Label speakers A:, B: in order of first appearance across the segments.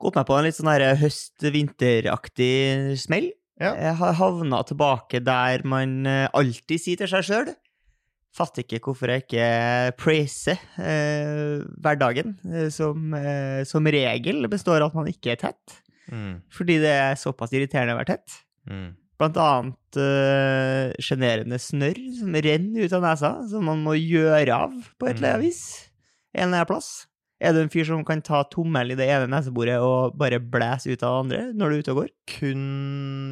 A: gått meg på en litt sånn her høst-vinteraktig smell.
B: Ja.
A: Jeg har havna tilbake der man eh, alltid sier til seg sjøl. Fatter ikke hvorfor jeg ikke praiser eh, hverdagen, eh, som eh, som regel består av at man ikke er tett.
B: Mm.
A: Fordi det er såpass irriterende å være tett.
B: Mm.
A: Blant annet eh, sjenerende snørr som renner ut av nesa, som man må gjøre av på et eller
B: Mm.
A: annet vis. En eller annen plass. Er du en fyr som kan ta tommelen i det ene neseboret og bare blæse ut av det andre når du er ute og går?
B: Kun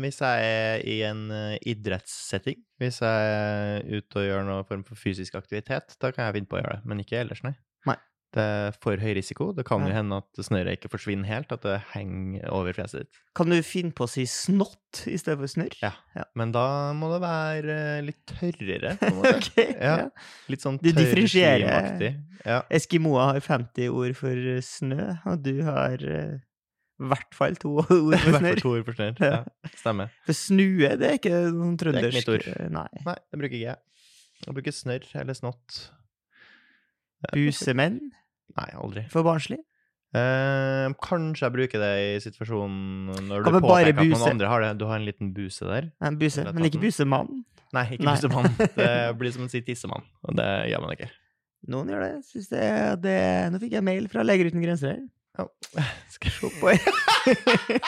B: hvis jeg er i en eh, idrettssetting. Hvis jeg er ute og gjør noen form for fysisk aktivitet, da kan jeg finne på å gjøre det, men ikke ellers, nei.
A: Nei.
B: Det er for høy risiko. Det kan
A: Ja.
B: jo hende at snøret ikke forsvinner helt, at det henger over fjeset ditt.
A: Kan du finne på å si snott i stedet for snørr?
B: Ja. Men da må det være eh, litt tørrere, på en måte.
A: Ok, ja.
B: Ja. Litt sånn
A: Du differensierer.
B: tørrslimaktig. Ja.
A: Eskimoa har 50 ord for eh, snø, og du har eh, i hvert fall to ord for
B: Hvert
A: snørr.
B: to ord for snørr.
A: Ja.
B: Ja. Stemmer.
A: For snue, det er ikke noen
B: er ikke
A: trøndersk
B: mitt ord.
A: eh, Nei.
B: Nei, det bruker ikke jeg. Jeg bruker snørr eller snott.
A: Busemenn,
B: Nei, aldri.
A: for barnslig.
B: Eh, kanskje jeg bruker det i situasjonen når
A: Kan
B: du
A: vi bare
B: påpeker at noen
A: buse?
B: andre har det. Du har en liten buse der.
A: Nei, buse, men ikke busemann.
B: Nei, ikke
A: Nei.
B: busemann. Det blir som å si tissemann, og det gjør man ikke.
A: Noen gjør det. Jeg Synes det, det. Nå fikk jeg mail fra Leger uten grenser her.
B: Skal
A: På- på-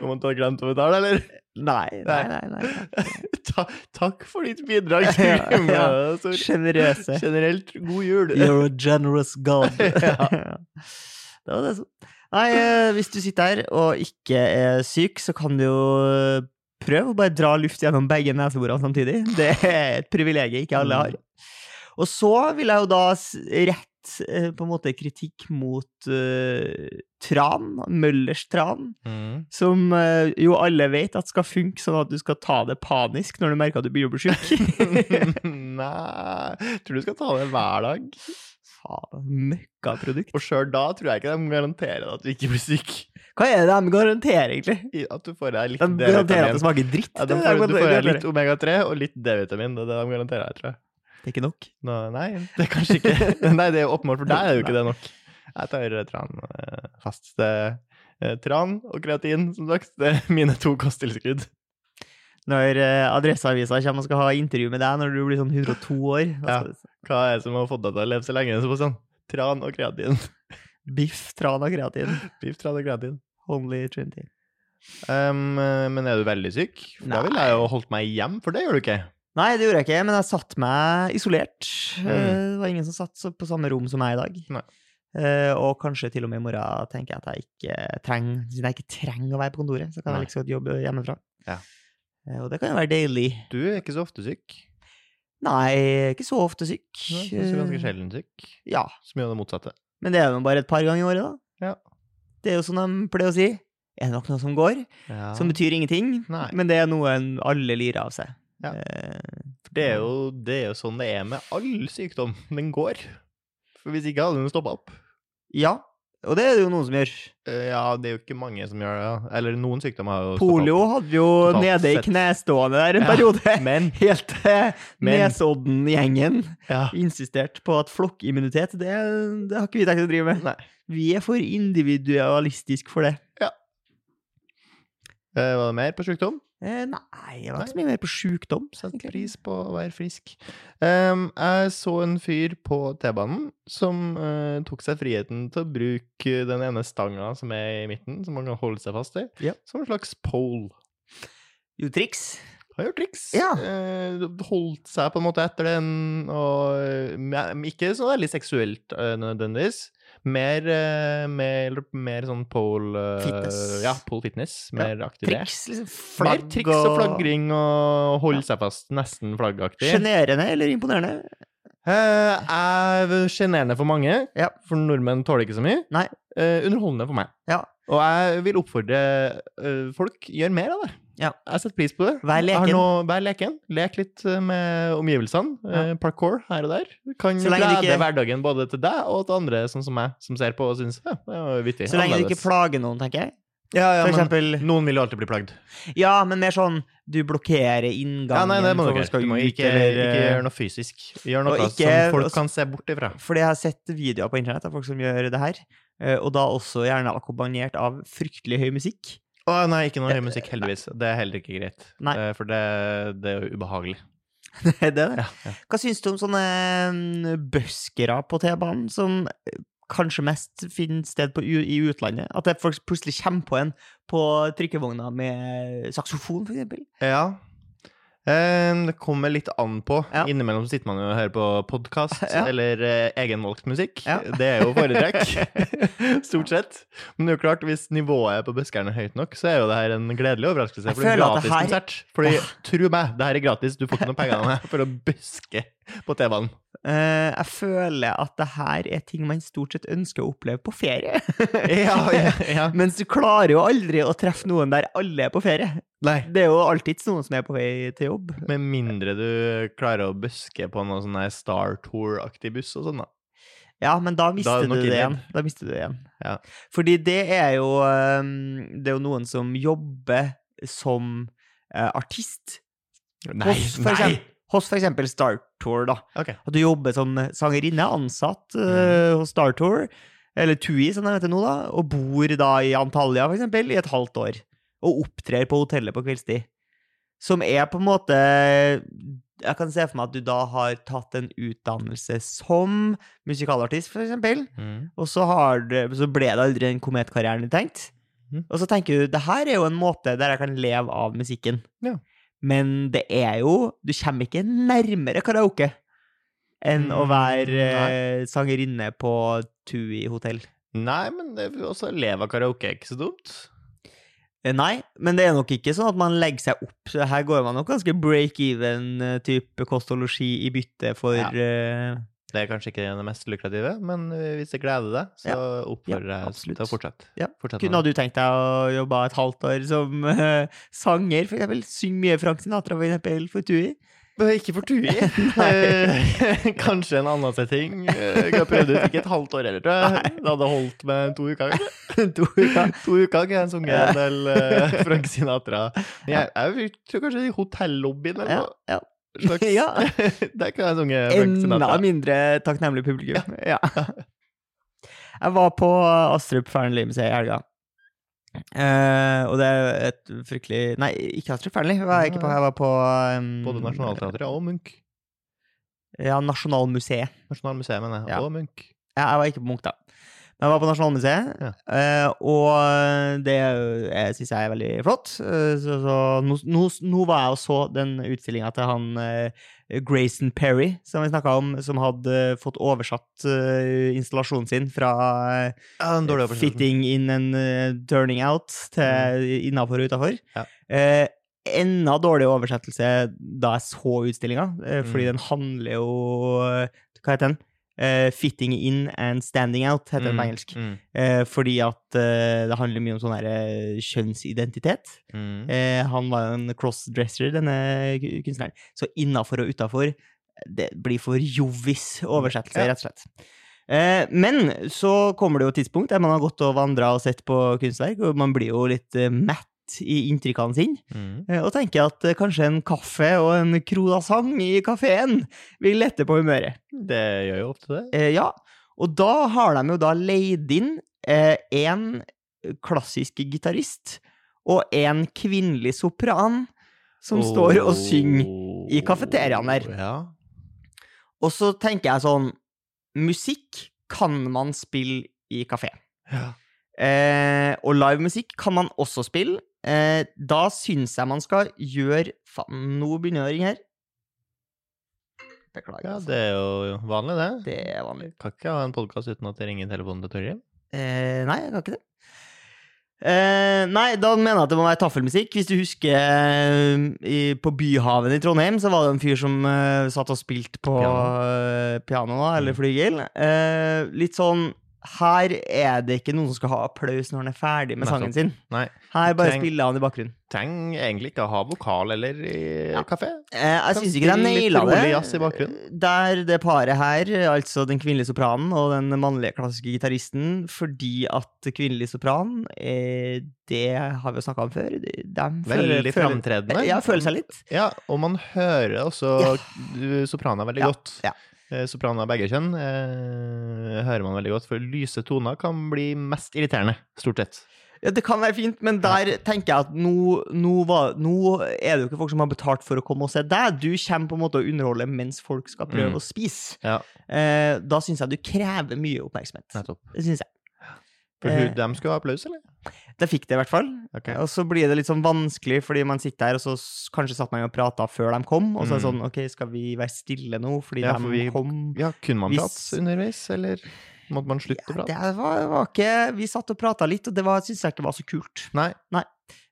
B: Om du har glemt å betale, eller?
A: Nei, nei, nei. nei.
B: Ta, takk for ditt bidrag.
A: Ja,
B: Kim.
A: ja.
B: Tor.
A: Sjenerøse.
B: Generelt, god jul.
A: You're a generous god.
B: Ja.
A: Det var det som Nei, eh, hvis du sitter her og ikke er syk, så kan du jo eh, prøve å bare dra luft gjennom begge neseborene samtidig. Det er et privilegium ikke alle har. Og så vil jeg jo da s- rett eh, på en måte kritikk mot eh, tran, Møllers tran,
B: Mm.
A: som eh, jo alle vet at skal funke sånn at du skal ta det panisk når du merker at du begynner å bli sjuk.
B: Nei Tror du skal ta det hver dag.
A: Faen, møkkaprodukt.
B: Og sjøl da tror jeg ikke de garanterer at du ikke blir syk.
A: Hva er det de garanterer, egentlig?
B: I- At du får deg litt
A: De garanterer at det
B: D-vitamin.
A: smaker dritt.
B: Ja,
A: det
B: de
A: er
B: får,
A: det
B: du
A: de
B: får deg
A: garanterer.
B: litt omega-3 og litt D-vitamin. Det er det de garanterer deg, tror jeg.
A: Det er ikke nok.
B: Nå, nei, det er kanskje ikke Nei, det er jo åpenbart, for deg er jo ikke det nok. Jeg tar eh, tran eh, fast. Det, eh, tran og kreatin, som sagt, det er mine to kosttilskudd.
A: Når eh, Adresseavisa kommer og skal ha intervju med deg når du blir sånn 102 år da
B: Ja.
A: skal du-
B: Hva er det som har fått deg til å leve så lenge, Sebastian? Tran og kreatin.
A: Biff, tran og kreatin.
B: Biff, tran og kreatin.
A: Only 20.
B: Um, men er du veldig syk? For Da
A: Nei.
B: ville jeg jo holdt meg hjem, for det gjør du ikke.
A: Nei, det gjorde jeg ikke, men jeg satt meg isolert.
B: Mm.
A: Eh, Det var ingen som satt så- på samme rom som meg i dag.
B: Nei.
A: Eh, Og kanskje til og med i morgen tenker jeg at jeg ikke trenger, siden jeg ikke trenger å være på kontoret, så kan jeg
B: Nei.
A: like så godt jobbe hjemmefra.
B: Ja.
A: Eh, Og det kan jo være deilig.
B: Du er ikke så ofte syk.
A: Nei, jeg er ikke så ofte
B: Du
A: syk.
B: er
A: Eh,
B: ganske sjelden syk.
A: Ja,
B: Så mye av det motsatte.
A: men det er jo bare et par ganger i året, da.
B: Ja.
A: Det er jo som de pleier å si. Er det nok noe som går?
B: Ja.
A: Som betyr ingenting,
B: Nei.
A: men det er noe en- alle lirer av seg.
B: Ja.
A: Eh,
B: For det er, jo, det er jo sånn det er med all sykdom. Den går. For hvis ikke hadde den stoppa opp.
A: ja. Og det er det jo noen som gjør.
B: Eh, Ja, det er jo ikke mange som gjør det. da. Eller noen sykdommer har jo stoppet
A: Polio
B: opp.
A: hadde jo
B: Totalt
A: nede i
B: sett.
A: knestående der en
B: Ja,
A: periode.
B: Men
A: Helt til
B: Men-
A: Nesodden-gjengen
B: ja.
A: insisterte på at flokkimmunitet, det, det har ikke vi tenkt å drive med.
B: Nei.
A: Vi er for individualistisk for det.
B: Eh, Var det mer på sykdom?
A: Eh, nei, det var ikke så mye mer på sjukdom.
B: Sett
A: egentlig.
B: pris på å være frisk. Ehm, jeg så en fyr på T-banen som eh, tok seg friheten til å bruke den ene stanga som er i midten, som man kan holde seg fast i,
A: Ja.
B: som en slags pole.
A: Jo, triks.
B: Har gjort triks.
A: Ja.
B: Eh, holdt seg på en måte etter den, og eh, men ikke så veldig seksuelt eh, nødvendigvis. Mer, eh, mer, mer sånn pole eh,
A: Fitness.
B: Ja, pole fitness.
A: Ja.
B: Mer aktiv det.
A: Triks, liksom.
B: Mer
A: Flagg
B: triks og flagring og holde seg fast, nesten flaggaktig.
A: Sjenerende eller imponerende?
B: Eh, Er sjenerende for mange,
A: Ja.
B: for nordmenn tåler ikke så mye.
A: Nei.
B: Eh, underholdende for meg.
A: Ja.
B: Og jeg vil oppfordre eh, folk gjør mer av det.
A: Ja.
B: Jeg setter pris på det.
A: Vær
B: Jeg har
A: leken.
B: noe- vær leken. Lek litt eh, med omgivelsene. Eh, parkour her og der. Du Kan
A: Så lenge du
B: glede
A: ikke-
B: hverdagen både til deg og til andre, sånn som meg, som ser på og syns ja, det var vittig.
A: Så lenge du ikke
B: Annerledes.
A: plager noen, tenker jeg.
B: Ja, ja,
A: For
B: men
A: eksempel
B: noen vil jo alltid bli plagd.
A: Ja, men mer sånn du blokkerer inngangen.
B: Ja, nei, det må
A: for
B: du
A: folk
B: ikke.
A: skal
B: Du må
A: ut,
B: ikke,
A: eller,
B: ikke gjøre noe fysisk. Gjør
A: og
B: noe
A: ikke-
B: som folk kan se bort ifra.
A: Fordi jeg har sett videoer på internett av folk som gjør det her, eh, og da også gjerne akkompagnert av fryktelig høy musikk.
B: Å nei, ikke noe høy musikk, heldigvis. Det er heller ikke greit.
A: Nei.
B: Eh, For det, det er jo ubehagelig.
A: det er det.
B: Ja, ja.
A: Hva syns du om sånne mm, buskere på T-banen, som eh, kanskje mest finner sted på, u- i utlandet? At det folk plutselig kommer på en på trikkevogna med saksofon, for eksempel?
B: ja. Eh, Det kommer litt an på.
A: Ja.
B: Innimellom sitter man jo og hører på podkast
A: Ja.
B: eller eh, egenvalgt musikk.
A: Ja.
B: Det er jo foretrekk. Stort sett. Men det er jo klart, hvis nivået på buskeren er høyt nok, så er jo det her en gledelig overraskelse.
A: Jeg
B: For det er
A: føler at det
B: gratis
A: her-
B: konsert. Fordi, tro meg, det her er gratis. Du får ikke noe penger av meg for å buske på T-banen.
A: Eh, jeg føler at det her er ting man stort sett ønsker å oppleve på ferie.
B: Ja, ja, ja.
A: Mens du klarer jo aldri å treffe noen der alle er på ferie.
B: Nei.
A: Det er jo alltid noen som er på vei til jobb.
B: Med mindre du klarer å buske på noe sånn her Star Tour-aktig buss og sånn, da.
A: Ja, men da
B: Da er
A: mister
B: det
A: du
B: nok
A: det igjen.
B: innlegg.
A: Da mister du det igjen.
B: Ja.
A: Fordi det er jo øhm, Det er jo noen som jobber som eh, artist. hos, for Eksempel, hos for eksempel Star Tour, da.
B: Ok.
A: At du jobber som eh, sangerinne, ansatt eh, hos Star Tour, eller TUI som de heter nå, da, og bor da i Antalya, for eksempel, i et halvt år. Og opptrer på hotellet på kveldstid. Som er på en måte Jeg kan se for meg at du da har tatt en utdannelse som musikalartist, for eksempel.
B: Mm.
A: Og så, har det, så ble det aldri den kometkarrieren du tenkte.
B: Mhm.
A: Og så tenker du det her er jo en måte der jeg kan leve av musikken.
B: Ja.
A: Men det er jo Du kommer ikke nærmere karaoke enn å
B: Mm,
A: være eh, sangerinne på Tui hotell.
B: Nei, men det er også leve av karaoke er ikke så dumt.
A: Eh, Nei, men det er nok ikke sånn at man legger seg opp. Så her går man nok ganske break-even-type kost og losji i bytte for
B: Ja.
A: eh,
B: Det er kanskje ikke det mest lukrative, men hvis det gleder deg, så oppfordrer
A: Ja,
B: jeg oss til å
A: absolutt.
B: fortsette.
A: Ja.
B: Fortsett
A: Kunne
B: med
A: hadde
B: det.
A: du tenkt deg å jobbe et halvt år som eh, sanger, for eksempel? Syng mye Frank Sinatra, for eksempel, for Tui?
B: Eh, Ikke for Tui. Eh, kanskje en annen setting. Eh, Jeg har prøvd ut ikke et halvt år heller, tror jeg. Det hadde holdt med to uker. kanskje.
A: to uker.
B: To uker kunne jeg sunget en del eh, Frank Sinatra. Men jeg, jeg tror kanskje i hotellobbyen eller
A: Ja,
B: noe.
A: ja.
B: Slags,
A: Ja.
B: Der kunne jeg sunget Frank
A: Enda
B: Sinatra.
A: mindre takknemlig publikum. sånn Ja. Jeg var på Astrup Fearnley-museet i helga. Eh, og det er jo et fryktelig Nei, ikke Astrup Fearnley. Jeg var jeg ikke på, jeg var på em,
B: Både Nationaltheatret og Munch.
A: Ja, Nasjonalmuseet.
B: Nasjonalmuseet, mener jeg.
A: Ja.
B: Og Munch.
A: Ja, jeg var ikke på Munch, da. Men jeg var på Nasjonalmuseet,
B: Ja.
A: eh, og det syns jeg er veldig flott. Eh, Så, så nå, nå, nå var jeg og så den utstillinga til han eh, Grayson Perry, som vi snakka om, som hadde fått oversatt eh, installasjonen sin fra eh,
B: Ja, en dårlig oversettelse.
A: 'fitting in and eh, turning out' til innafor og utafor.
B: Mm. Ja.
A: Eh, enda dårligere oversettelse da jeg så utstillinga, eh, fordi
B: Mm.
A: den handler jo Hva heter den? Eh, 'Fitting in and standing out', heter den på
B: Mm,
A: engelsk.
B: mm,
A: Eh, fordi at eh, det handler mye om sånn her eh, kjønnsidentitet.
B: mm.
A: Eh, han var jo en crossdresser, denne ku- kunstneren. Så innafor og utafor, det blir for jovis oversettelse,
B: Ja.
A: rett og slett. Eh, Men så kommer det jo et tidspunkt der man har gått og vandra og sett på kunstverk, og man blir jo litt eh, mett i inntrykkene sine,
B: Mm.
A: eh, og tenker at eh, kanskje en kaffe og en croissant i kafeen vil lette på humøret.
B: Det gjør jo ofte det.
A: Eh, ja, og da har de jo da leid inn én klassisk gitarist og én kvinnelig sopran som står og synger. i kafeteriaen der.
B: Ja.
A: Og så tenker jeg sånn Musikk kan man spille i kafé.
B: ja.
A: Eh, og livemusikk kan man også spille. Eh, da syns jeg man skal gjøre Faen, nå begynner det å ringe her. Beklager.
B: Ja,
A: altså.
B: det er jo vanlig, det.
A: det er vanlig.
B: Kan ikke ha en podkast uten at det ringer i telefonen til Torgrim.
A: Eh, nei, jeg kan ikke det. Eh, nei, da mener jeg at det må være taffelmusikk. Hvis du husker eh, i, på Byhaven i Trondheim, så var det en fyr som eh, satt og spilte på
B: Piano.
A: eh, piano, da, eller
B: Mm.
A: flygel. Eh, litt sånn her er det ikke noen som skal ha applaus når han er ferdig med
B: Nettopp.
A: sangen sin.
B: Nei.
A: Her bare
B: Treng-
A: spiller han i bakgrunnen.
B: Trenger egentlig ikke å ha vokal eller i
A: Ja.
B: kafé.
A: Eh, jeg
B: Kan
A: syns ikke de
B: spille litt
A: naila
B: rolig jazz i
A: det.
B: bakgrunnen.
A: Der det paret her, altså den kvinnelige sopranen og den mannlige klassiske gitaristen, fordi at kvinnelig sopran, eh, det har vi jo snakka om før, de de føler, føler,
B: Veldig framtredende.
A: ja, føler seg litt.
B: Ja, og man hører også eh, soprana veldig
A: Ja,
B: godt.
A: ja.
B: Eh, Soprana av begge kjønn eh, hører man veldig godt, for lyse toner kan bli mest irriterende, stort sett.
A: Ja, det kan være fint, men der tenker jeg at nå, nå, var, nå er det jo ikke folk som har betalt for å komme og se deg. Du kommer på en måte å underholde mens folk skal prøve
B: Mm.
A: å spise.
B: Ja.
A: Eh, da syns jeg du krever mye oppmerksomhet.
B: Nettopp.
A: Det syns jeg.
B: For
A: Eh.
B: hun, dem skulle ha applaus, eller?
A: Det fikk det, i hvert fall.
B: Ok.
A: Og så blir det litt sånn vanskelig, fordi man sitter her, og så s- kanskje satt man jo og prata før de kom, og så er det sånn,
B: Mm.
A: ok, skal vi være stille nå, fordi
B: Ja,
A: de
B: for vi-
A: kom?
B: Ja, kunne man
A: Hvis-
B: prate underveis, eller måtte man slutte å prate?
A: Det var, var ikke, vi satt og prata litt, og det var, syns jeg ikke var så kult,
B: Nei,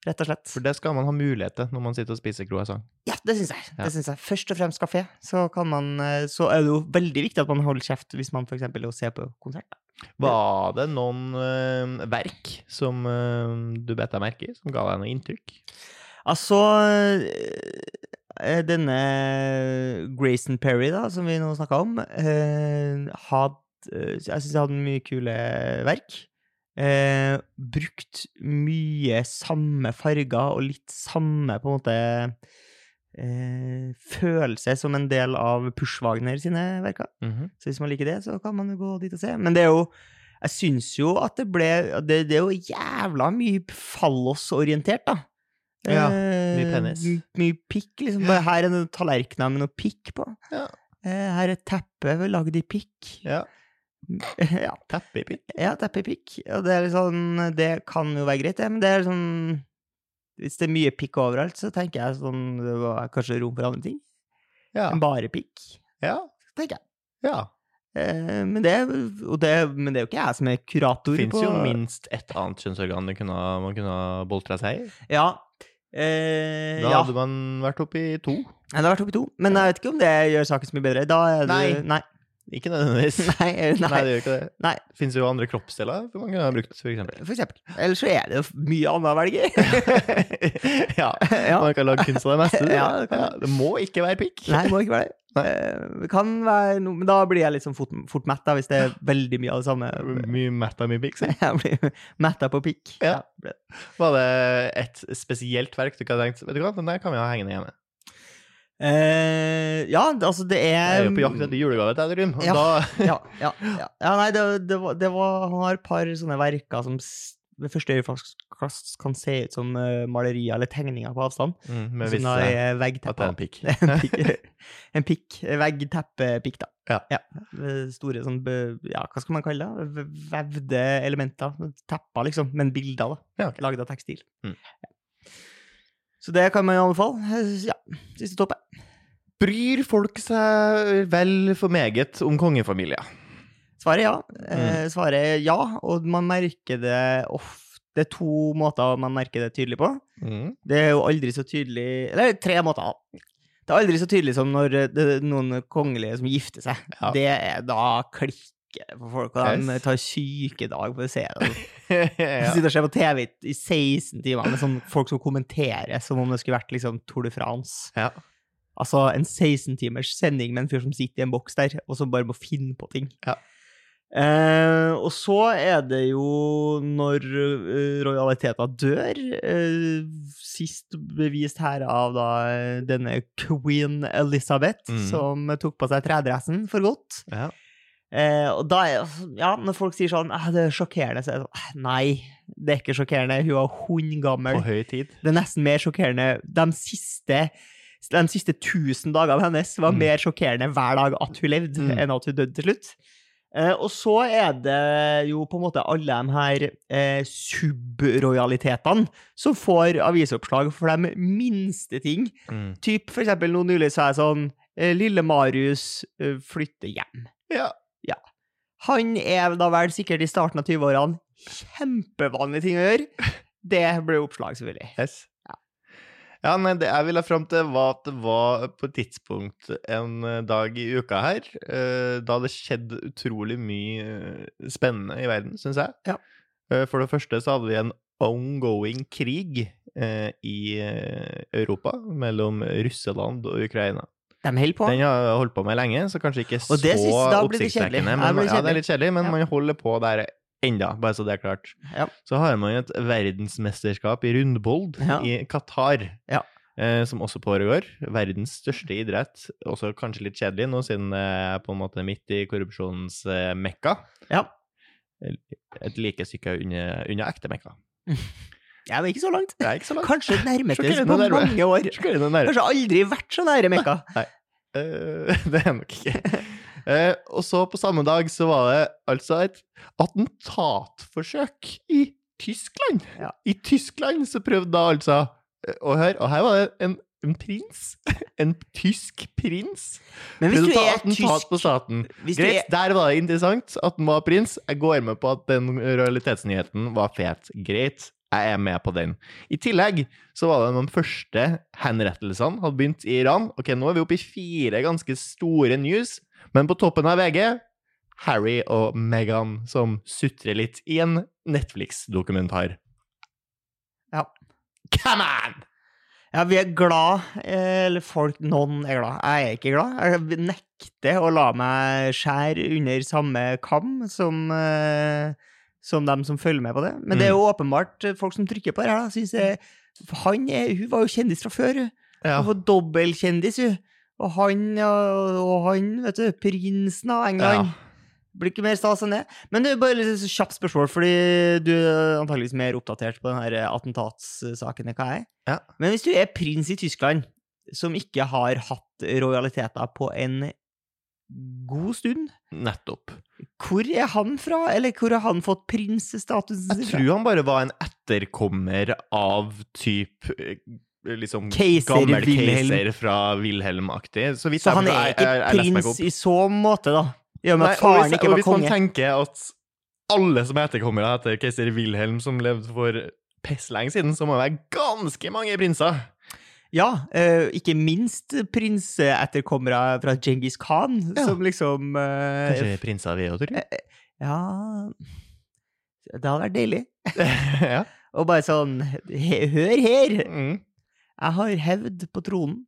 A: rett og slett.
B: for det skal man ha mulighet til når man sitter og spiser croissant.
A: Ja, det syns jeg.
B: Ja.
A: det synes jeg. Først og fremst kafé. Så, kan man, eh, så er det jo veldig viktig at man holder kjeft hvis man f.eks. er og ser på konsert. da.
B: Var det noen eh, verk som eh, du bet deg merke i, som ga deg noe inntrykk?
A: Altså eh, Denne Grayson Perry, da, som vi nå snakka om, eh, had, eh, jeg syns jeg hadde mye kule verk. Eh, brukt mye samme farger og litt samme på en måte eh, følelse som en del av Pushwagner sine verker.
B: Mhm.
A: Så hvis man liker det, så kan man jo gå dit og se. Men det er jo Jeg syns jo at det ble at Det, det er jo jævla mye fallosorientert, da.
B: Ja,
A: Eh,
B: mye penis.
A: my- Mye pikk, liksom. Bare her er noen tallerkener med noe pikk på.
B: Ja.
A: Eh, her er et teppe lagd i pikk.
B: Ja.
A: ja.
B: Teppe i pikk.
A: ja, teppe i pikk. Og det er liksom Det kan jo være greit, det, men det er liksom Hvis det er mye pikk overalt, så tenker jeg sånn Det var kanskje rom for andre ting
B: Ja.
A: enn bare pikk,
B: ja.
A: tenker jeg.
B: ja.
A: Eh, men, det, og det, men det er jo ikke jeg som er kurator
B: Det fins
A: på
B: jo minst ett annet kjønnsorgan det kunne, man kunne ha boltra seg i.
A: Ja. Eh,
B: Da
A: ja.
B: hadde man vært oppi to.
A: Jeg har vært oppe i to, men jeg vet ikke om det gjør saken så mye bedre. Da er
B: Nei.
A: det, nei.
B: Ikke nødvendigvis.
A: Nei,
B: Nei,
A: nei,
B: det gjør ikke det.
A: Nei.
B: Fins jo andre kroppsdeler man kunne ha brukt, for eksempel.
A: for eksempel. Ellers så er det jo mye annet å velge i.
B: ja.
A: ja.
B: Man kan lage kunst av det meste.
A: Ja, det
B: det,
A: kan
B: ja, det må ikke være pikk.
A: Nei, det må ikke være det.
B: Nei.
A: Eh, det kan være noe, men da blir jeg litt sånn fort, fort mett, da, hvis det er veldig mye av det samme.
B: Mye mett av mye pikk. sant?
A: Jeg blir metta på pikk.
B: Ja.
A: ble det.
B: Var det et spesielt verk du ikke hadde tenkt Vet du hva, den der kan vi ha hengende hjemme.
A: Eh, ja, altså, det
B: Jeg
A: er
B: er jo på jakt etter julegave til Edrun, og
A: ja.
B: da
A: ja, ja, ja. ja nei, det, det, var, det var Han har et par sånne verker som s- ved første øyekast kan se ut som eh, malerier eller tegninger på avstand.
B: mm, Med
A: Som
B: visse
A: da er
B: at det er en
A: veggteppa.
B: pikk.
A: En pikk. En pikk. eh, Veggteppepikk, da.
B: Ja.
A: Eh, Store sånn bø- Ja, hva skal man kalle det? V- Vevde elementer. Tepper, liksom. Men bilder, da.
B: Ja, ok.
A: Lagd av tekstil.
B: Mm.
A: Ja. Så det kan man jo anbefale. Eh, Ja. Siste toppet.
B: Bryr folk seg vel for meget om kongefamilier?
A: Svaret er ja.
B: Mm.
A: Eh, Svaret er ja, og man merker det ofte. Det er to måter man merker det tydelig på.
B: Mm.
A: Det er jo aldri så tydelig Eller tre måter. Det er aldri så tydelig som når eh, det er noen kongelige som gifter seg.
B: Ja.
A: Det er da klikker det for folk, og de
B: Yes.
A: tar sykedag for å se det.
B: ja.
A: De sitter og ser på TV i- i 16 timer med sånn folk som kommenterer som om det skulle vært liksom Tour de France.
B: Ja.
A: Altså en 16-timers sending med en fyr som sitter i en boks der, og som bare må finne på ting.
B: Ja.
A: Eh, og så er det jo når uh, rojaliteter dør, eh, sist bevist her av da eh, denne queen Elizabeth,
B: Mhm.
A: som tok på seg tredressen for godt.
B: Ja.
A: Eh, og da er ja, når folk sier sånn «Ah, det er sjokkerende, så er det sånn «Ah, Nei, det er ikke sjokkerende. Hun var hundgammel.
B: På høy tid.
A: Det er nesten mer sjokkerende. De siste, de siste tusen dagene hennes var
B: Mm.
A: mer sjokkerende hver dag at hun levde,
B: Mm.
A: enn at hun døde til slutt. Eh, og så er det jo på en måte alle de her eh, subrojalitetene som får avisoppslag for de minste ting.
B: Mm.
A: Typ for eksempel nå nylig så er jeg sånn eh, Lille Marius eh, flytter hjem.
B: Ja.
A: Han er da vel sikkert i starten av 20-årene kjempevanlig ting å gjøre. Det ble oppslag, selvfølgelig.
B: Yes. Ja, nei, det jeg ville fram til, var at det var på et tidspunkt en eh, dag i uka her eh, da det skjedde utrolig mye eh, spennende i verden, syns jeg.
A: Ja.
B: Eh, For det første så hadde vi en ongoing krig eh, i eh, Europa mellom Russeland og Ukraina.
A: De holder på.
B: Den har jeg holdt på med lenge, så kanskje ikke så
A: Og det synes jeg da blir det kjedelig.
B: oppsiktsvekkende.
A: Ja,
B: Men,
A: det blir
B: ja, det er litt kjedelig, men
A: Ja.
B: man holder på der enda, bare så det er klart.
A: Ja.
B: Så har man jo et verdensmesterskap i rundbold
A: Ja.
B: i Qatar,
A: Ja.
B: eh, som også pågår. Verdens største idrett, også kanskje litt kjedelig nå, siden det er på en måte midt i korrupsjonens eh, mekka.
A: Ja.
B: Et like stykke under, under ekte mekka.
A: ja, men ikke så langt.
B: Det er ikke så langt.
A: Kanskje nærmestes
B: Sjokkerende
A: på
B: nærme.
A: mange år.
B: Kanskje nærmere.
A: Kanskje aldri vært så nære Mekka.
B: Eh, det er nok ikke. Eh, og så på samme dag så var det altså et attentatforsøk i Tyskland.
A: Ja.
B: I Tyskland så prøvde da altså eh, Og her, og her var det en, en prins. En tysk prins.
A: Men hvis
B: Prøvde
A: du
B: å ta
A: er
B: attentat
A: tysk
B: på staten.
A: hvis du er,
B: Greit, der var det interessant at han var prins. Jeg går med på at den realitetsnyheten var fet. Greit, jeg er med på den. I tillegg så var det de første henrettelsene hadde begynt i Iran. Ok, nå er vi oppe i fire ganske store news, men på toppen av VG Harry og Meghan som sutrer litt i en Netflix-dokumentar.
A: Ja.
B: Come on!
A: Ja, vi er glad, eh, eller folk, noen er glad. Jeg er ikke glad. Jeg nekter å la meg skjære under samme kam som, eh, som dem som følger med på det. Men det er jo åpenbart folk som trykker på det her, da. Synes jeg, han er, hun var jo kjendis fra før, hun.
B: Ja.
A: Hun var dobbeltkjendis, hun. Og han, og, og han, vet du, prinsen av England.
B: Ja.
A: Blir ikke mer stas enn det. Men det er bare litt så kjapt spørsmål, fordi du er antageligvis mer oppdatert på denne attentatssaken enn hva jeg er.
B: Ja.
A: Men hvis du er prins i Tyskland, som ikke har hatt rojaliteter på en god stund,
B: Nettopp.
A: hvor er han fra? Eller hvor har han fått prinsestatusen
B: Jeg
A: sin fra?
B: tror han bare var en etterkommer av typ eh, liksom
A: Keiser
B: gammel
A: Wilhelm.
B: keiser fra Wilhelm-aktig. Så, vidt
A: Så
B: jeg
A: han
B: forstår-
A: er
B: jeg-
A: ikke
B: jeg- jeg leste meg
A: prins
B: opp.
A: i så måte, da. I og med
B: Nei,
A: at
B: og hvis-
A: faren ikke
B: og
A: var
B: hvis man
A: konge.
B: tenker at alle som er etterkommere etter keiser Wilhelm, som levde for piss lenge siden, så må det være ganske mange prinser.
A: Ja, eh, ikke minst prinseetterkommere fra Djengis Khan,
B: Ja.
A: som liksom eh,
B: Kanskje prinser vi òg, tror
A: Ja Det hadde vært deilig.
B: ja.
A: Og bare sånn he, Hør her!
B: Mm.
A: Jeg har hevd på tronen.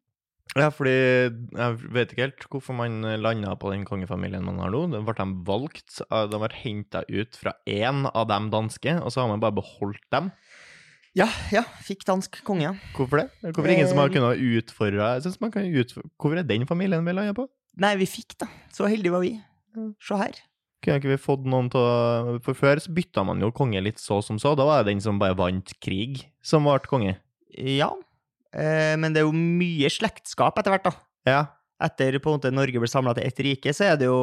B: ja, fordi jeg vet ikke helt hvorfor man landa på den kongefamilien man har nå. Den ble de valgt, av- de ble henta ut fra én av dem danske, og så har man bare beholdt dem.
A: Ja, ja. Fikk dansk konge.
B: Hvorfor det? Hvorfor er det ingen som har kunnet utfordre Jeg synes man kan utfordre Hvorfor er den familien vi lander på?
A: Nei, vi fikk, da. Så heldige var vi. Se her.
B: Kunne ikke vi fått noen til å For før så bytta man jo konge litt så som så. Da var det den som bare vant krig, som ble konge.
A: Ja. Eh, men det er jo mye slektskap etter hvert, da.
B: Ja.
A: Etter på en måte Norge ble samla til ett rike, så er det jo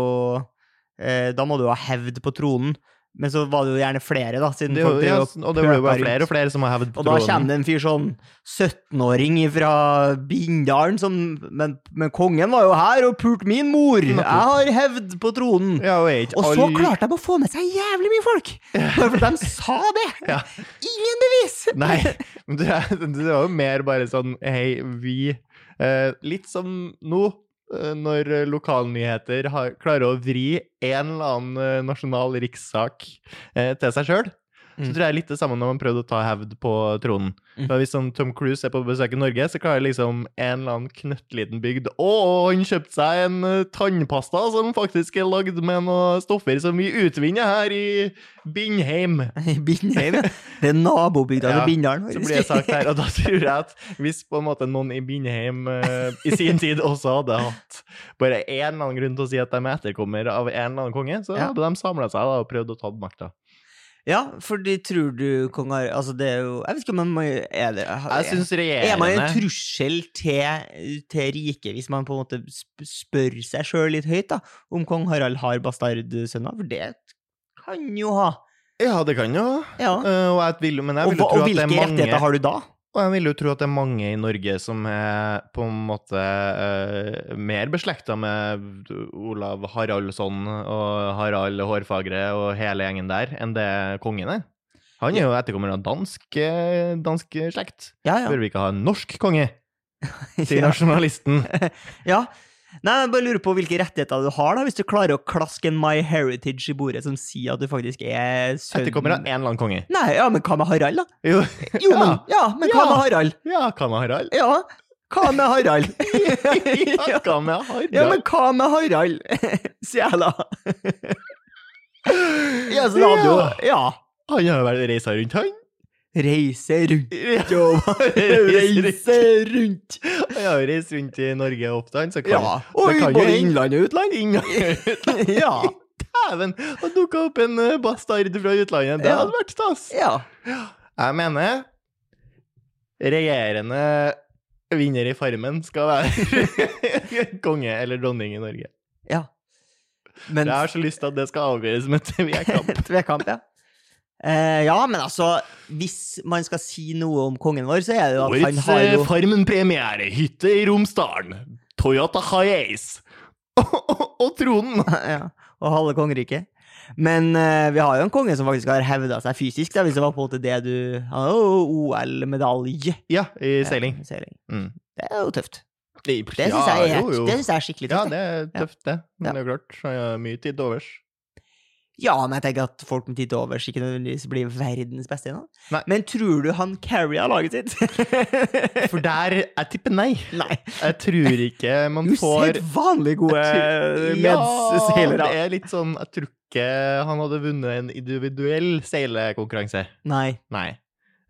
A: eh, Da må du ha hevd på tronen. Men så var det jo gjerne flere, da. Siden
B: Det, er jo-
A: folk drev
B: ja,
A: og
B: og det ble jo bare
A: pøka
B: flere
A: rundt.
B: og flere som har hevd på
A: Og da kommer
B: tronen.
A: det en fyr sånn 17-åring fra Bindalen som men, men kongen var jo her og pulte min mor! Jeg har hevd på tronen!
B: Ja, og er ikke
A: Og så
B: alle-
A: klarte de å få med seg jævlig mye folk! Bare fordi de sa det!
B: Ja.
A: Ingen bevis!
B: Nei, men det, er- det var jo mer bare sånn Hei, vi eh, Litt som nå, eh, når lokalnyheter har, klarer å vri en eller annen eh, nasjonal rikssak eh, til seg sjøl.
A: Mm.
B: Så tror jeg litt det samme når man prøvde å ta hevd på tronen.
A: Mm.
B: Da Hvis sånn Tom Cruise er på besøk i Norge, så klarer liksom en eller annen knøttliten bygd Å, han kjøpte seg en eh, tannpasta som faktisk er lagd med noen stoffer som vi utvinner her i Bindheim.
A: Bindheim, ja. Det er nabobygda til
B: Ja,
A: Bindalen.
B: Så
A: faktisk.
B: blir det sagt her, og da tror jeg at hvis på en måte noen i Bindheim eh, i sin tid også hadde hatt bare en eller annen grunn til å si at de er etterkommer av en eller annen konge, så
A: Ja.
B: hadde de samla seg da og prøvd å ta makta.
A: Ja, for de tror du kong Harald Altså, det er jo Jeg vet ikke om man må- er det
B: Jeg syns
A: Er man en
B: regjerende
A: trussel til, til riket hvis man på en måte sp- spør seg sjøl litt høyt da, om kong Harald har bastardsønner? For det kan jo ha.
B: Ja, det kan jo
A: Ja.
B: Eh, og jeg vil, men jeg
A: Og,
B: vil jo
A: hva,
B: tro
A: og
B: at det
A: hvilke
B: er mange
A: rettigheter har du da?
B: Og jeg vil jo tro at det er mange i Norge som er på en måte eh, mer beslekta med Olav Haraldsson og Harald Hårfagre og hele gjengen der, enn det kongen er. Han er jo etterkommer av dansk, eh, dansk slekt.
A: Ja, ja.
B: Bør vi ikke ha en norsk konge? Sier
A: Ja.
B: nasjonalisten.
A: ja. Nei, jeg bare lurer på hvilke rettigheter du har da, hvis du klarer å klaske en My Heritage i bordet som sier at du faktisk er sønn
B: Etterkommer av én eller annen konge.
A: Nei, ja, men hva med Harald, da?
B: Jo,
A: Jo,
B: ja.
A: men, ja, men hva
B: Ja.
A: med Harald?
B: ja, hva med Harald?
A: Ja, hva med Harald?
B: Ja, hva med Harald?
A: Ja, men hva med Harald? Sier jeg da. Ja, så da hadde jo
B: Ja. altså,
A: Ja.
B: Han har vel reist rundt, han?
A: Reise rundt
B: Ja.
A: og reise rundt.
B: Han har jo reist rundt i Norge ofte, han, så kan
A: Ja. Og
B: det kan jo
A: både
B: hende.
A: innland og utland. Ja.
B: Dæven! Han dukka opp en eh, bastard fra utlandet. Det
A: Ja.
B: hadde vært stas.
A: Ja.
B: Jeg mener regjerende vinner i Farmen skal være konge eller dronning i Norge.
A: ja. Men
B: Jeg har så lyst til at det skal avgjøres med TV-kamp.
A: Tvekamp, ja. Eh, ja, men altså, hvis man skal si noe om kongen vår, så er det jo at han
B: Årets
A: har
B: eh,
A: jo
B: Farmen-premiere, hytte i Romsdalen, Toyota Hiace og tronen.
A: ja, Og halve kongeriket. Men eh, vi har jo en konge som faktisk har hevda seg fysisk, da, hvis det var på en måte det du Han har jo OL-medalje.
B: Ja, i seiling.
A: Ja, seiling.
B: Mm.
A: Det er jo tøft.
B: Det
A: Det syns jeg, er- det synes jeg er skikkelig
B: Ja,
A: tøft.
B: det
A: Ja,
B: er tøft, det. Men
A: Ja.
B: det er jo klart, han har mye tid overs.
A: ja, men jeg tenker at folk med tid til overs ikke nødvendigvis blir verdens beste ennå.
B: Nei.
A: Men tror du han carria laget sitt?
B: For der Jeg tipper nei.
A: Nei.
B: Jeg tror ikke man får
A: Usedvanlig gode
B: Ja,
A: medseilere.
B: det er litt sånn Jeg tror ikke han hadde vunnet en individuell seilekonkurranse.
A: Nei.
B: Nei.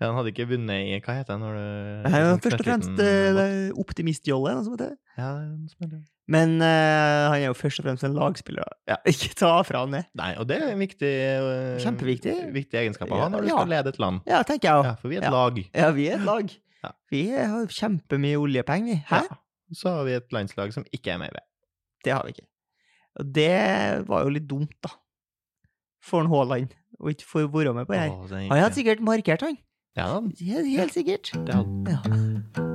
B: Han hadde ikke vunnet i Hva heter det når du
A: Det er jo
B: liksom
A: først og
B: sletter ut
A: fremst
B: en
A: eh, det
B: båt?
A: er optimistjolle. noe som heter det.
B: Ja, det er noe som er det.
A: Men eh, han er jo først og fremst en lagspiller. da. Ja, ikke ta fra han det.
B: Nei, og det er en viktig eh,
A: Kjempeviktig.
B: viktig egenskap å ha når du
A: Ja.
B: skal lede et land.
A: Ja, tenker jeg òg.
B: Ja, for vi er et
A: Ja.
B: lag.
A: Ja, vi er et lag.
B: Ja.
A: Vi har kjempemye oljepenger, vi. Hæ?
B: Ja. Så har vi et landslag som ikke er med i VM.
A: Det har vi ikke. Og det var jo litt dumt, da. For en Haaland å ikke få være med på det her.
B: Å, den gikk
A: Han
B: det.
A: hadde sikkert markert, han.
B: Ja,
A: Helt, helt sikkert.
B: det hadde
A: Ja.